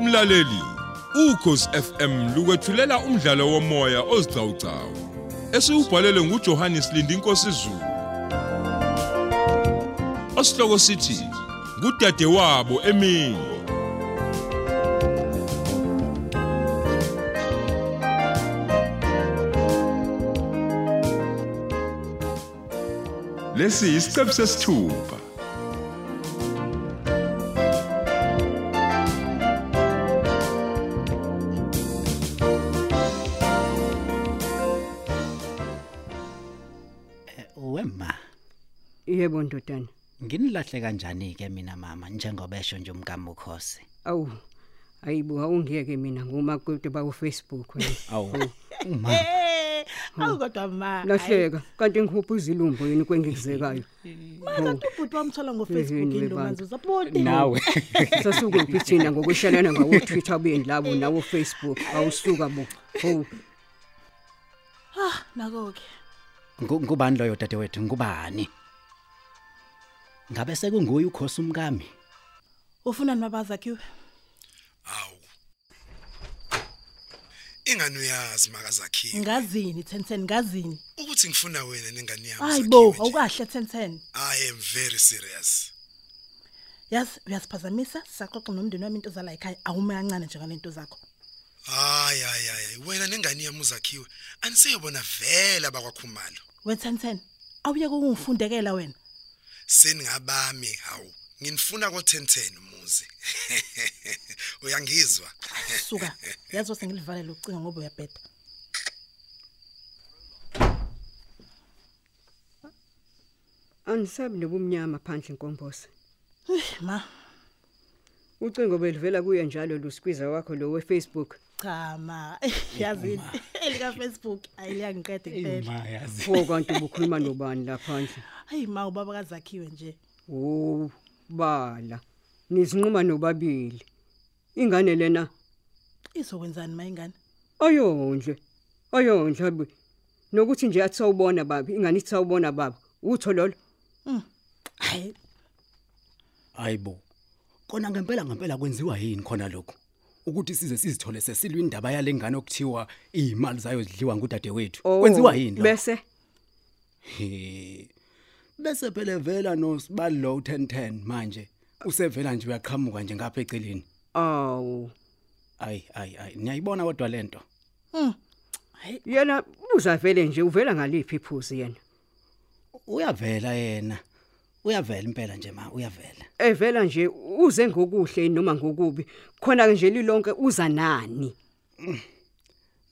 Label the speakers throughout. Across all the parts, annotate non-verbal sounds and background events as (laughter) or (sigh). Speaker 1: Mlaleli, ukhosi FM lukwethulela umdlalo womoya ozicawucawu esiubhalelwe nguJohannes Lindinkosi Zulu. Osihloko sithi kudadewabo emini Lesi isiqephu sesithupha.
Speaker 2: wema
Speaker 3: Yebo ndodana.
Speaker 2: nginilahle kanjani ke mina mama njengobesho nje umkamukhosi
Speaker 3: Awu. Ayibo awungiyeke mina ngumakwethu ba uFacebook wena.
Speaker 2: awu uma
Speaker 4: Eh, Awu kodwa ma.
Speaker 3: Lahleka kanti ngihupha izilumbo yini kwengikuzekayo.
Speaker 4: Kanti ubhuti wamthola ngoFacebook
Speaker 3: Yini
Speaker 4: into
Speaker 3: baba?
Speaker 4: manje uzabona.
Speaker 2: nawe
Speaker 3: Sasukuphi thina ngokweshalana ngawo Twitter buyeni labo nawo Facebook awusuka bo. Ho
Speaker 4: Ah, nako ke.
Speaker 2: (laughs) Ngu- ngubani loyo dadewethu ngubani ngabe sekunguye ukhosi umkami
Speaker 4: Ufuna nimabaza kiwe.
Speaker 5: Awu. Ingane uyazi makazakhiwe
Speaker 4: Ngazini 1010 ngazini.
Speaker 5: ukuthi ngifuna wena nengane yami.
Speaker 4: Hayibo,
Speaker 5: sakhiwe nje.
Speaker 4: awukahle 1010.
Speaker 5: I am very serious.
Speaker 4: Yazi uyasiphazamisa saxoxa nomndeni wami into zala ekhaya awume kancane nje ngalento zakho.
Speaker 5: Hayi hayi hayi wena nengane yami uzakhiwe anisiyobona vele abakwakhumalo.
Speaker 4: We 1010. Awuye ukungifundekela wena.
Speaker 5: Seningabami hawu. Nginifuna ko1010 umuzi. (laughs) Uyangizwa?
Speaker 4: Suka. Yazi wasengilivale locinga ngoba uyabhedda.
Speaker 3: angisabi nobumnyama phandle inkombosi.
Speaker 4: Eh, Ma,
Speaker 3: Ucingo belivela kuye njalo lo squeezer wakho lo weFacebook.
Speaker 4: cha ma. Yazini. (laughs) Elika Facebook ayiyangiqede kuphela.
Speaker 2: uma yazi
Speaker 3: Pho kanti ubukhuluma nobani lapha phandle?
Speaker 4: Hayi ma ubaba kazakhiwe nje.
Speaker 3: Oh, bala. Nizinquma nobabili. Ingane lena
Speaker 4: Izokwenzani mayingane?
Speaker 3: ayondle. Ayondle abi. Nokuthi nje atsawubona baba, ingane itsawubona baba. Utho lolo.
Speaker 4: Hmm. Hayi
Speaker 2: hayibo kona ngempela ngempela kwenziwa yini khona lokho ukuthi size sizithole sesilwa indaba yale ngane okuthiwa izimali zayo zidliwa ngudadewethu
Speaker 3: Oh,
Speaker 2: kwenziwa yini lokho
Speaker 3: Bese
Speaker 2: He. Bese phela vela nosibali lo 1010 manje usevela nje uyaqhamuka nje ngapha eceleni.
Speaker 3: awu.
Speaker 2: Ayi ayi ayi niyayibona kodwa lento.
Speaker 3: Yena uza vele nje uvela ngaliphi iphuzi yena.
Speaker 2: Uyavela yena. Uyavela impela nje ma uyavela.
Speaker 3: Evela nje uze ngokuhle noma ngokubi. Khona ke nje lilonke uza nani.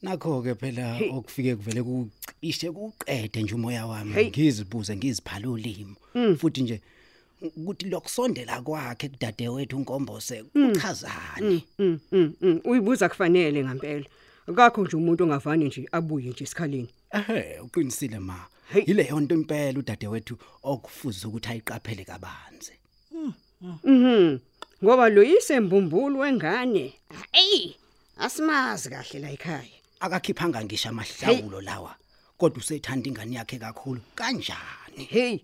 Speaker 2: Nakho ke phela okufike kuvele kucishe kuqede nje umoya wami
Speaker 3: Hey. Mm.
Speaker 2: ngizibuze ngiziphala ulimo futhi nje ukuthi lokusondela kwakhe kudadewethu uNkombose kuchazani.
Speaker 3: Mm, mm, mm. uyibuza kufanele ngempela. Akakho nje umuntu ongavani nje abuye nje isikhaleni.
Speaker 2: Ehhe uqinisile ma.
Speaker 3: Hey.
Speaker 2: Ile yonto impela udadewethu okufuza ukuthi ayiqaphele kabanzi.
Speaker 3: Mhm. Ngoba lo isembumbulu wengane. Hey, asimazi kahle la ekhaya.
Speaker 2: Akakhiphanga ngisho amahlawulo lawa. Kodwa usethanda ingane yakhe kakhulu kanjani?
Speaker 3: Hey.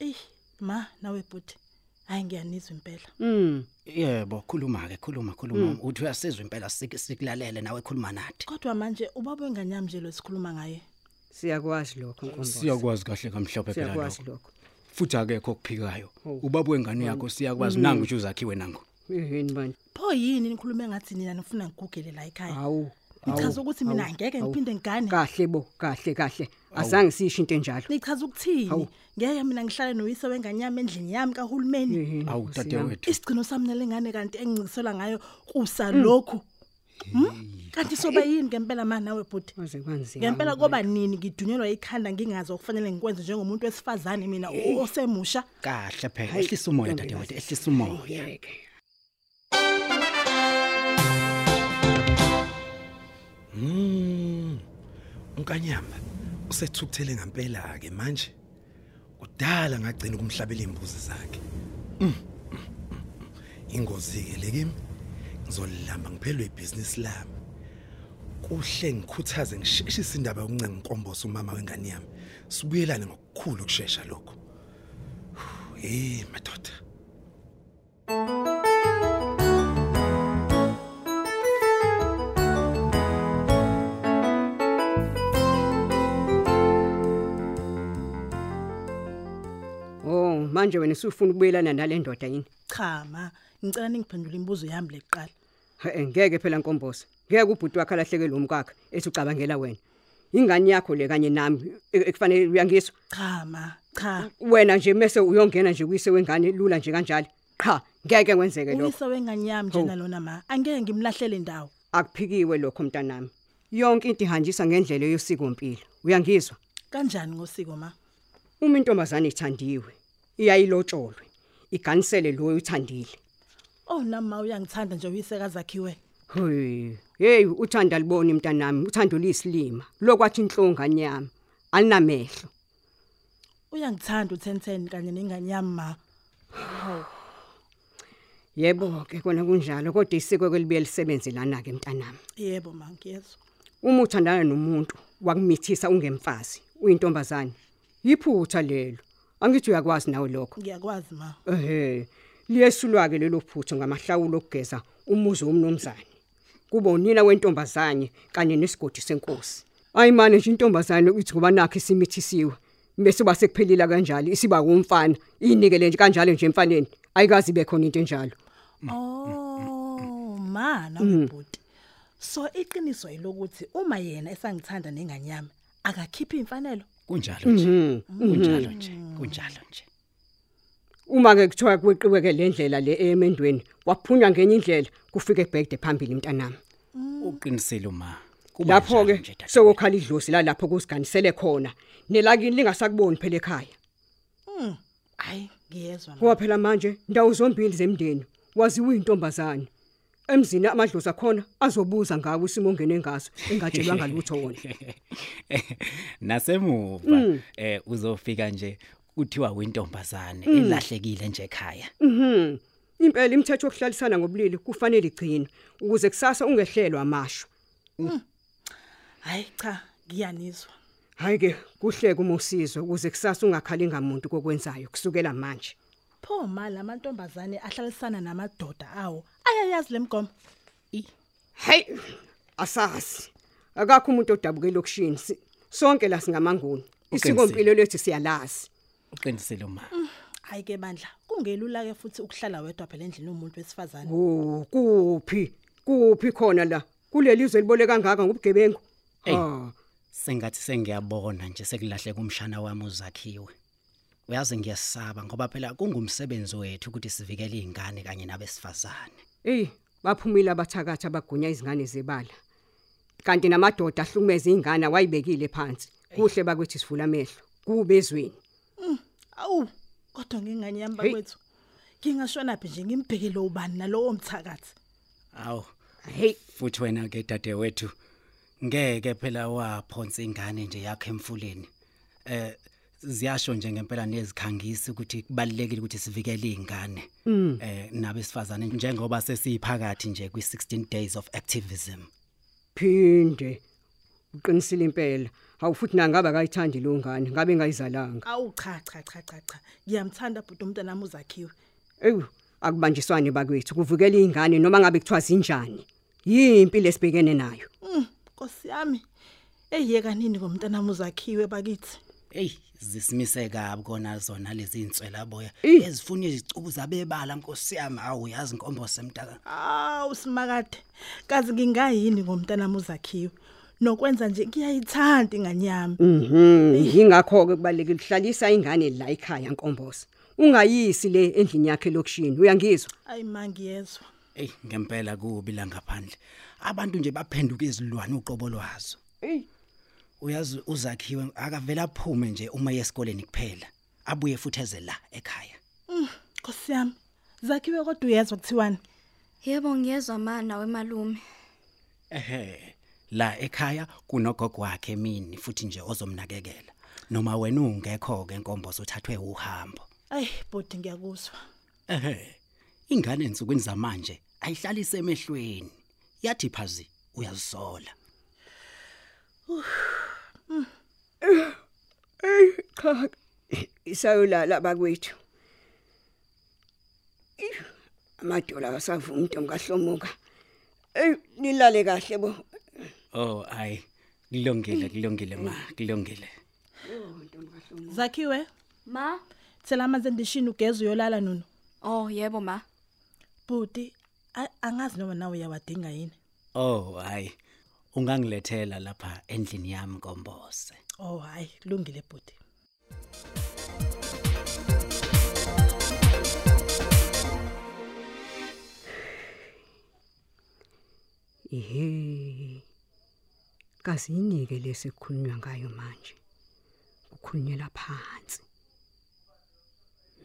Speaker 4: Eh, ma nawe buthi. Hayi ngiyanizwa impela.
Speaker 3: Mm.
Speaker 2: Yebo, khuluma ke, khuluma, khuluma. Uthi uyasizwa impela sik- sikulalele nawe khuluma nathi.
Speaker 4: Kodwa manje ubaba enganyami nje lo sikhuluma ngaye.
Speaker 3: Siyakwazi lokho nkombo.
Speaker 2: Siyakwazi kahle kamhlophe
Speaker 3: Siyakwazi lokho.
Speaker 2: Futhi akekho okuphikayo. Ubaba wengane yakho siyakwazi nangu nje uzakhiwe nangu.
Speaker 3: Yini bani?
Speaker 4: Pho yini nikhulume ngathi nina nifuna ngigugele la ekhaya?
Speaker 3: Hawu. hawu,
Speaker 4: Nichaza ukuthi mina
Speaker 3: hawu,
Speaker 4: angeke
Speaker 3: hawu.
Speaker 4: ngiphinde ngigane.
Speaker 3: Kahle bo, kahle kahle. Azange sisho into enjalo.
Speaker 4: Nichaza ukuthini? Ngeke mina ngihlale noyise wenganyami endlini yami kahulumeni.
Speaker 3: Yini,
Speaker 2: Awu
Speaker 3: Nkosi yami.
Speaker 2: dadewethu.
Speaker 4: Isigcino sami nalengane kanti engiciselwa ngayo kusa lokhu. Hm? Kanti soba yini ngempela manje nawe buthi?
Speaker 3: Kwaze kwanzima.
Speaker 4: Ngempela koba nini ngidunyelwa ikhanda ngingazi okufanele ngikwenze njengomuntu wesifazane mina
Speaker 3: Eh.
Speaker 4: o- osemusha.
Speaker 2: Kahle phela, ehlisa umoya dadewethu, ehlisa umoya.
Speaker 3: Yeke.
Speaker 5: Mm. Unkanyamba usethukuthele ngempela ke manje. Kudala ngagcina kumhlabela imbuzi zakhe. Mm, mm, mm, mm. Ingozi ke lekimi. Ngizolilamba ngiphelwe ibusiness lami. Kuhle ngikhuthaze ngisheshise indaba yokuncenga inkomboso umama wengane yami. Sibuyelane ngokukhulu ukusheshsha lokho. Eh madoda.
Speaker 3: manje wena usufuna ukubuyelana nale ndoda yini
Speaker 4: cha ma ngicela ningiphendule imibuzo yami le kuqala
Speaker 3: He eh, ngeke phela Nkombosi. Ngeke ubhuti wakhe alahlekelwe umkakhe ethi ucabangela wena. Ingane yakho le kanye nami e- ekufanele uyangiswa.
Speaker 4: cha ma
Speaker 3: Ah,
Speaker 4: cha
Speaker 3: Wena nje mse uyongena nje kuyise wengane lula nje kanjalo. Cha, ngeke kwenzeke lokho.
Speaker 4: uyise wengane yami
Speaker 3: Hawu.
Speaker 4: njena lona ma angeke ngimlahlele ndawo
Speaker 3: Akuphikiwe lokho mntanami. Yonke into ihanjiswa ngendlela yosiko impilo. Uyangizwa?
Speaker 4: kanjani ngosiko ma
Speaker 3: Uma intombazane ithandiwe, iyayilotsholwe. Iganisele lo uyithandile.
Speaker 4: oh nama uyangithanda nje uyisekazakhiwe
Speaker 3: Hey, hey uthanda libona mntanami, uthanda ulisilima. Lokwathi inhlonga nyama, alinamehlo.
Speaker 4: uyangithanda u1010 kanye nengane yami ma
Speaker 3: Yebo ke kona kunjalo kodwa isiko kwelibuye lisebenze lana ke mntanami.
Speaker 4: yebo ma ngiyezwa
Speaker 3: Uma uthandana nomuntu wakumithisa ungemfazi, uyintombazane. Yiphutha lelo. Angithi uyakwazi nawe lokho.
Speaker 4: ngiyakwazi ma
Speaker 3: Ehhe. Liyesulwa ke lelo phutho ngamahlawulo okugeza umuzi womnomzane. Kuba unina wentombazane kanye nesigodi senkosi. Ayimane nje intombazane uthi kuba nakhe simithisiwe. Bese base kuphelila kanjalo isiba kumfana. Inikele nje kanjalo nje emfaneni. Ayikazi ibe khona into enjalo.
Speaker 4: Oh ma nawubhuti. So iqiniso ilokuthi uma yena esangithanda nenganyama akakhiphi imfanelo.
Speaker 2: kunjalo nje kunjalo nje kunjalo nje
Speaker 3: uma ke kuthiwa kweqiwe ke lendlela le emendweni waphunywa ngenye indlela kufike ebhekde phambili mntanami
Speaker 2: uqinisele uma Kuba njalo
Speaker 3: lapho
Speaker 2: nje,
Speaker 3: ke
Speaker 2: dadewethu.
Speaker 3: sokukhala idlozi lalapho kusiganisele khona nelakini lingasakuboni phela ekhaya
Speaker 4: Hayi ngiyezwa ma.
Speaker 3: ngoba phela manje ndawo zombili zemndeni waziwe intombazane emzini amadlozi akhona azobuza ngawe isimo ongene ngaso engatshelwa ngalutho wona
Speaker 2: nasemuva eh uzofika nje kuthiwa wentombazane elahlekile nje ekhaya
Speaker 3: impela imithetho yokuhlalisana ngobulili kufanele igcine ukuze kusasa ungehlelwa amasho
Speaker 4: Hayi cha ngiyanizwa.
Speaker 3: hayi ke kuhleke uma usizwe ukuze kusasa ungakhali ngamuntu kokwenzayo kusukela manje
Speaker 4: Pho ma lamantombazane ahlalisana namadoda awo ayayazi lemgomo.
Speaker 3: Hey, asazi. Akakho umuntu odabuke lokushini. si- Sonke la singamanguni. Isikompilo lethu siyalazi.
Speaker 2: uqinisele uma
Speaker 4: Hayi ke bandla kungelula ke futhi ukuhlala wedwa phela endlini umuntu wesifazane.
Speaker 3: Oh, kuphi? Kuphi khona la? Kulelizwe libole kangaka ngobugebengu.
Speaker 2: Hey.
Speaker 3: Ah,
Speaker 2: sengathi sengiyabona nje sekulahleka umshana wami uzakhiwe uyazi ngiyasaba ngoba phela kungumsebenzi wethu ukuthi sivikele izingane kanye nabesifazane
Speaker 3: Ey, baphumile abathakathi abagunya izingane zebala. Kanti namadoda ahlukumeza izingane wayibekile phansi. Kuhle bakwethu sivula amehlo. Kube ezweni.
Speaker 4: Awu kodwa ngengane yami
Speaker 3: Hey.
Speaker 4: bakwethu. Ngingashona phi nje ngimbhekele ubani nalowo mthakathi.
Speaker 2: awu
Speaker 3: Hey,
Speaker 2: futhi wena ke dadewethu ngeke phela waphonsa ingane nje yakhe emfuleni eh ziyasho nje ngempela nezikhangisi ukuthi kubalekile ukuthi sivikele izingane eh nabesifazane njengoba sesiyiphakathi nje kwi 16 days of activism
Speaker 3: phinde. Uqinisile impela. Hawu futhi nangaba kayithandi lo ngane, ngabe ngayizalanga.
Speaker 4: Awu cha cha cha cha cha. Ngiyamthanda bhuti umntana nami uzakhiwe.
Speaker 3: Ewu, akubanjiswane bakwethu, kuvukela ingane noma ngabe kuthiwa zinjani. Yimpilo esibhekene nayo.
Speaker 4: Mm, Nkosi yami. Eyiyeka nini ngomntana muzakhiwe bakithi?
Speaker 2: Ey zisimise kabi kona zona lezi inswela boya
Speaker 3: Ih.
Speaker 2: ezifuna izicubu zabebala nkosi yami awu yazi inkombosi emntaka
Speaker 4: Ah, usimakade. Kazi ngingayini ngomntana muzakhiwe? Nokwenza nje ngiyayithanda inganyami.
Speaker 3: Mhm, ingakho ke kubalekile uhlalisa ingane la ekhaya nkombosi. Ungayisi le endlini yakhe lokushini, uyangizwa?
Speaker 4: Ayi mangiyezwa.
Speaker 2: ey ngempela kubi la ngaphandle abantu nje baphenduka izilwane uqobo lwazo
Speaker 3: Ey,
Speaker 2: uyazi uzakhiwe akavela aphume nje uma yesikoleni kuphela abuye futhi eze la ekhaya
Speaker 4: Nkosi yami. Zakhiwe kodwa uyezwa kuthiwani?
Speaker 6: Yebo ngiyezwa mana wemalume.
Speaker 2: ehe la ekhaya kunogogo wakhe mini futhi nje ozomnakekela noma wena ungekho ke inkombozo uthathwe uhambo
Speaker 4: Ayi bodi ngiyakuzwa.
Speaker 2: ehe ingane ensukwini zamanje ayihlalise emehlweni yathi phazi uyazisola
Speaker 3: cha. Isayolala bakwethu. Ih, Amadola akasavumi into ngahlomuka. Ey, nilale kahle bo.
Speaker 2: oh ay kulungile kulungile ma kulungile
Speaker 4: Zakhiwe,
Speaker 6: Ma,
Speaker 4: Thela amanzi endishini ugeze uyolala nono.
Speaker 6: Oh yebo ma.
Speaker 4: Bhuti a- angazi noma nawe uyawadinga yini.
Speaker 2: Oh hayi. Ungangilethela lapha endlini yami kombose.
Speaker 4: Oh hayi kulungile bhuti.
Speaker 3: Ihe. Kazinike lesikhulunywa ngayo manje. Ukukhulunyela phansi.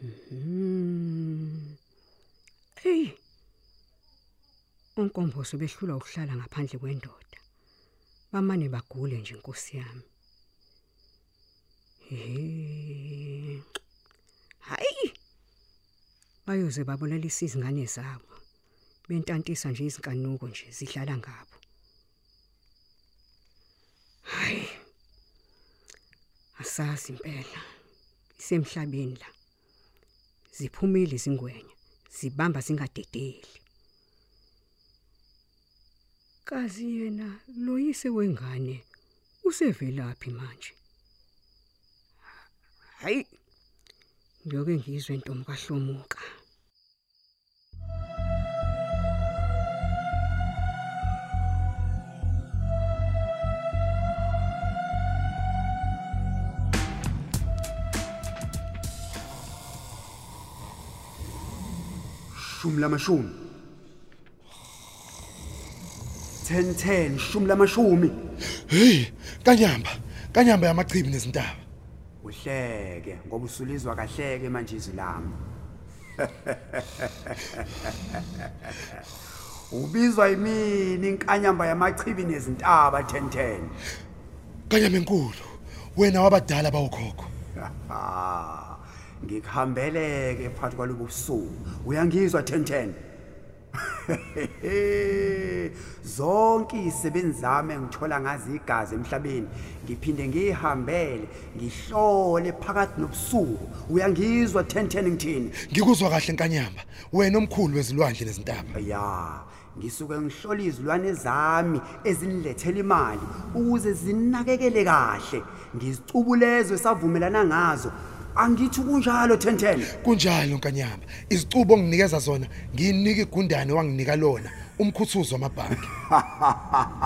Speaker 3: Mhm. Hey. Unkomboso behlula ukuhlala ngaphandle kwendoda. Bamane bagule nje inkosi yami. Ihe. Hayi. Bayoze babolalisa izingane zabo. bentantisa nje izinkanuko nje zidlala ngabo hayi asazi impela isemhlabeni la ziphumile izingwenya zibamba zingadedeli kazi yena loyise wengane usevelaphi manje hayi ngiyoke ngizwe intombi kahlomuka
Speaker 7: shumi lamashumi 10 10 shumi lamashumi
Speaker 5: hey kanyamba kanyamba yamachibi nezintaba
Speaker 7: uhleke ngoba usulizwa kahleke manje izilamba (laughs) ubizwa yimini inkanyamba yamachibi nezintaba 10 10
Speaker 5: kanyamba enkulu wena wabadala bawukhokho
Speaker 7: Ah, ngikuhambeleke phakathi kwalobu busuku uyangizwa 1010 (laughs) zonke izisebenzi zami engithola ngazi igazi emhlabeni ngiphinde ngiyihambele ngihlole phakathi nobusuku uyangizwa 1010 ngithini
Speaker 5: ngikuzwa kahle nkanyamba wena omkhulu wezilwandle nezintaba
Speaker 7: ya ngisuke ngihlola izilwane zami ezinilethela imali ukuze zinakekele kahle ngizicubulezwe savumelana ngazo angithi kunjalo 1010
Speaker 5: kunjalo nkanyamba izicubo onginikeza zona ngiyinika igundane wanginika lona umkhuthuzo wamabhangi
Speaker 7: (laughs)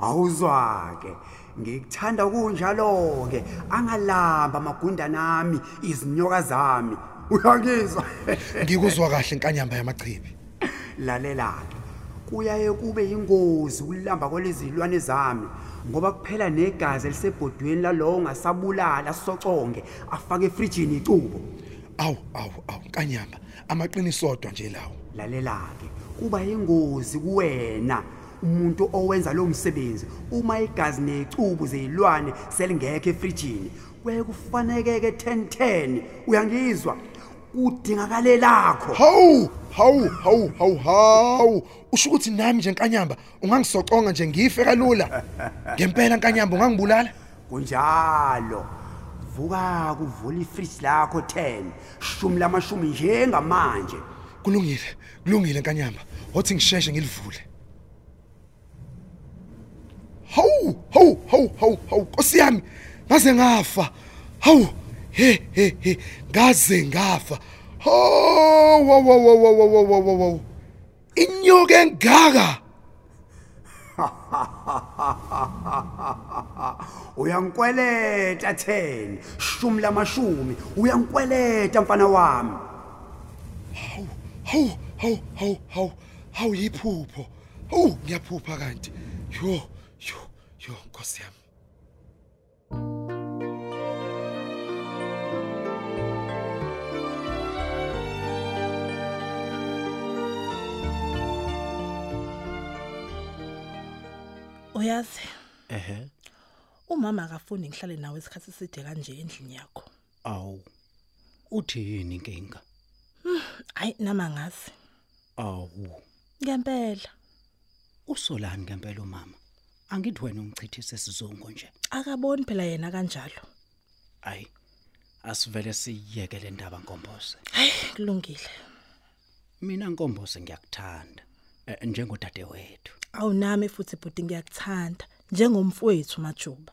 Speaker 7: awuzwa-ke ngikuthanda kunjalo-ke angalamba amagundane ami izinyoka zami uyakizwa
Speaker 5: ngikuzwa kahle nkanyamba yamachibi
Speaker 7: (laughs) lalela-ke kuyaye kube yingozi ukulamba kwaleziy'lwane zami ngoba kuphela negazi elisebhodweni lalowo ongasabulala soconge afake efrijini icubo
Speaker 5: awu awu awu nkanyamba amaqiniso odwa nje lawo
Speaker 7: lalela-ke kuba yingozi kuwena umuntu owenza lowo msebenzi uma igazi necubu zeyilwane selingekho efrijini kuye kufaneke-ke 1010 uyangizwa udingakale lakho
Speaker 5: hawu hawu hawu hawu hawu usho ukuthi nami nje nkanyamba ungangisoconga nje ngife kalula ngempela nkanyamba ungangibulala
Speaker 7: kunjalo vuka kuvula ifriji lakho 10 shumi lamashumi njengamanje (laughs)
Speaker 5: kulungile kulungile nkanyamba wathi ngisheshe ngilivule hawu hawu hawu hawu hawu nkosi yami ngaze ngafa hawu he he he ngaze ngafa hawu hawu hawu hawu hawu hawu hawu inyoka engaka
Speaker 7: uyangikweleta 10 shumi lamashumi uyangikweleta mfana wami
Speaker 5: hawu hawu hawu hawu hawu yiphupho hawu ngiyaphupha kanti yo yo yo nkosi yami
Speaker 4: Uyazi
Speaker 2: Ehhe.
Speaker 4: umama akafuni ngihlale nawe isikhathi eside kanje endlini yakho.
Speaker 2: Awu. Uthi yini inkinga?
Speaker 4: Hayi nama ngazi.
Speaker 2: Awu.
Speaker 4: Ngempela
Speaker 2: Usolani ngempela umama. Angithi wena ungichithise isizungu nje.
Speaker 4: akaboni phela yena kanjalo.
Speaker 2: Hayi. Asivele siyeke le ndaba nkombose.
Speaker 4: Hayi kulungile.
Speaker 2: Mina nkombose ngiyakuthanda eh, njengodadewethu.
Speaker 4: Awunami futhi bhuti ngiyakuthanda njengomfowethu majuba.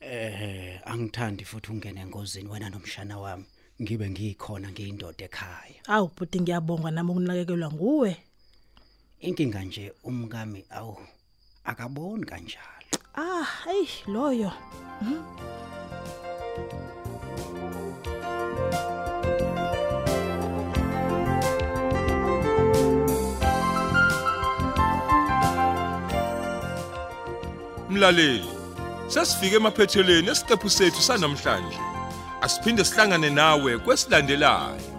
Speaker 2: eh angithandi futhi ungene engozini wena nomshana wami ngibe ngikhona ngiyindoda ekhaya
Speaker 4: awu bhuti ngiyabonga nami ukunakekelwa nguwe
Speaker 2: inkinga nje umkami awu akaboni kanjalo
Speaker 4: ah hey loyo
Speaker 1: Mlaleli, sesifike emaphethelweni esiqephu sethu sanamhlanje. Asiphinde sihlangane nawe kwesilandelayo.